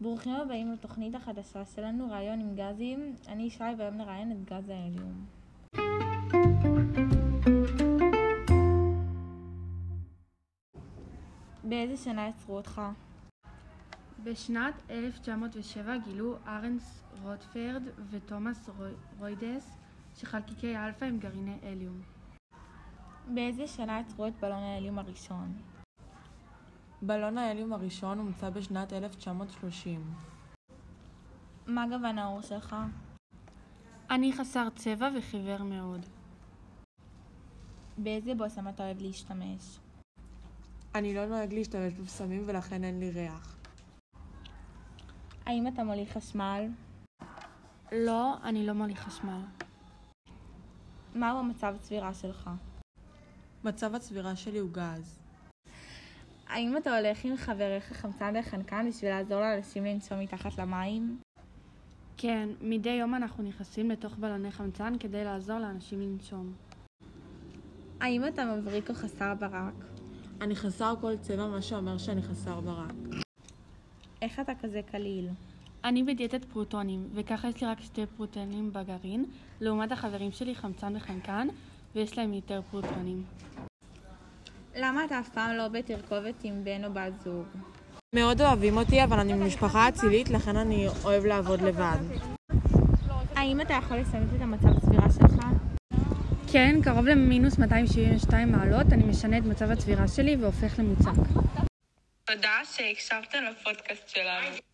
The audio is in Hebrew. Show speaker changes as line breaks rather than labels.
ברוכים הבאים לתוכנית החדשה שלנו, ראיון עם גזים. אני ישי והיום נראיין את גז האליום. באיזה שנה יצרו אותך?
בשנת 1907 גילו ארנס רוטפרד ותומאס רוי- רוידס שחלקיקי אלפא הם גרעיני הליום.
באיזה שנה יצרו את בלון האליום הראשון?
בלון ההליום הראשון הומצא בשנת 1930.
מה גוון העור שלך?
אני חסר צבע וחיוור מאוד.
באיזה בושם אתה אוהב להשתמש?
אני לא נוהג להשתמש בבשמים ולכן אין לי ריח.
האם אתה מוליך חשמל?
לא, אני לא מוליך חשמל.
מהו המצב צבירה שלך?
מצב הצבירה שלי הוא גז.
האם אתה הולך עם חבריך חמצן לחנקן בשביל לעזור לאנשים לנשום מתחת למים?
כן, מדי יום אנחנו נכנסים לתוך בלוני חמצן כדי לעזור לאנשים לנשום.
האם אתה מבריק או חסר ברק?
אני חסר כל צבע, מה שאומר שאני חסר ברק.
איך אתה כזה קליל?
אני בדיאטת פרוטונים, וככה יש לי רק שתי פרוטונים בגרעין, לעומת החברים שלי חמצן וחנקן, ויש להם יותר פרוטונים.
למה אתה אף פעם לא בתרכובת עם בן או בת זוג?
מאוד אוהבים אותי, אבל אני ממשפחה אצילית, לכן אני אוהב לעבוד לבד.
האם אתה יכול לשנות את המצב צבירה שלך?
כן, קרוב למינוס 272 מעלות, אני משנה את מצב הצבירה שלי והופך למוצק.
תודה שהקשבתם לפודקאסט שלנו.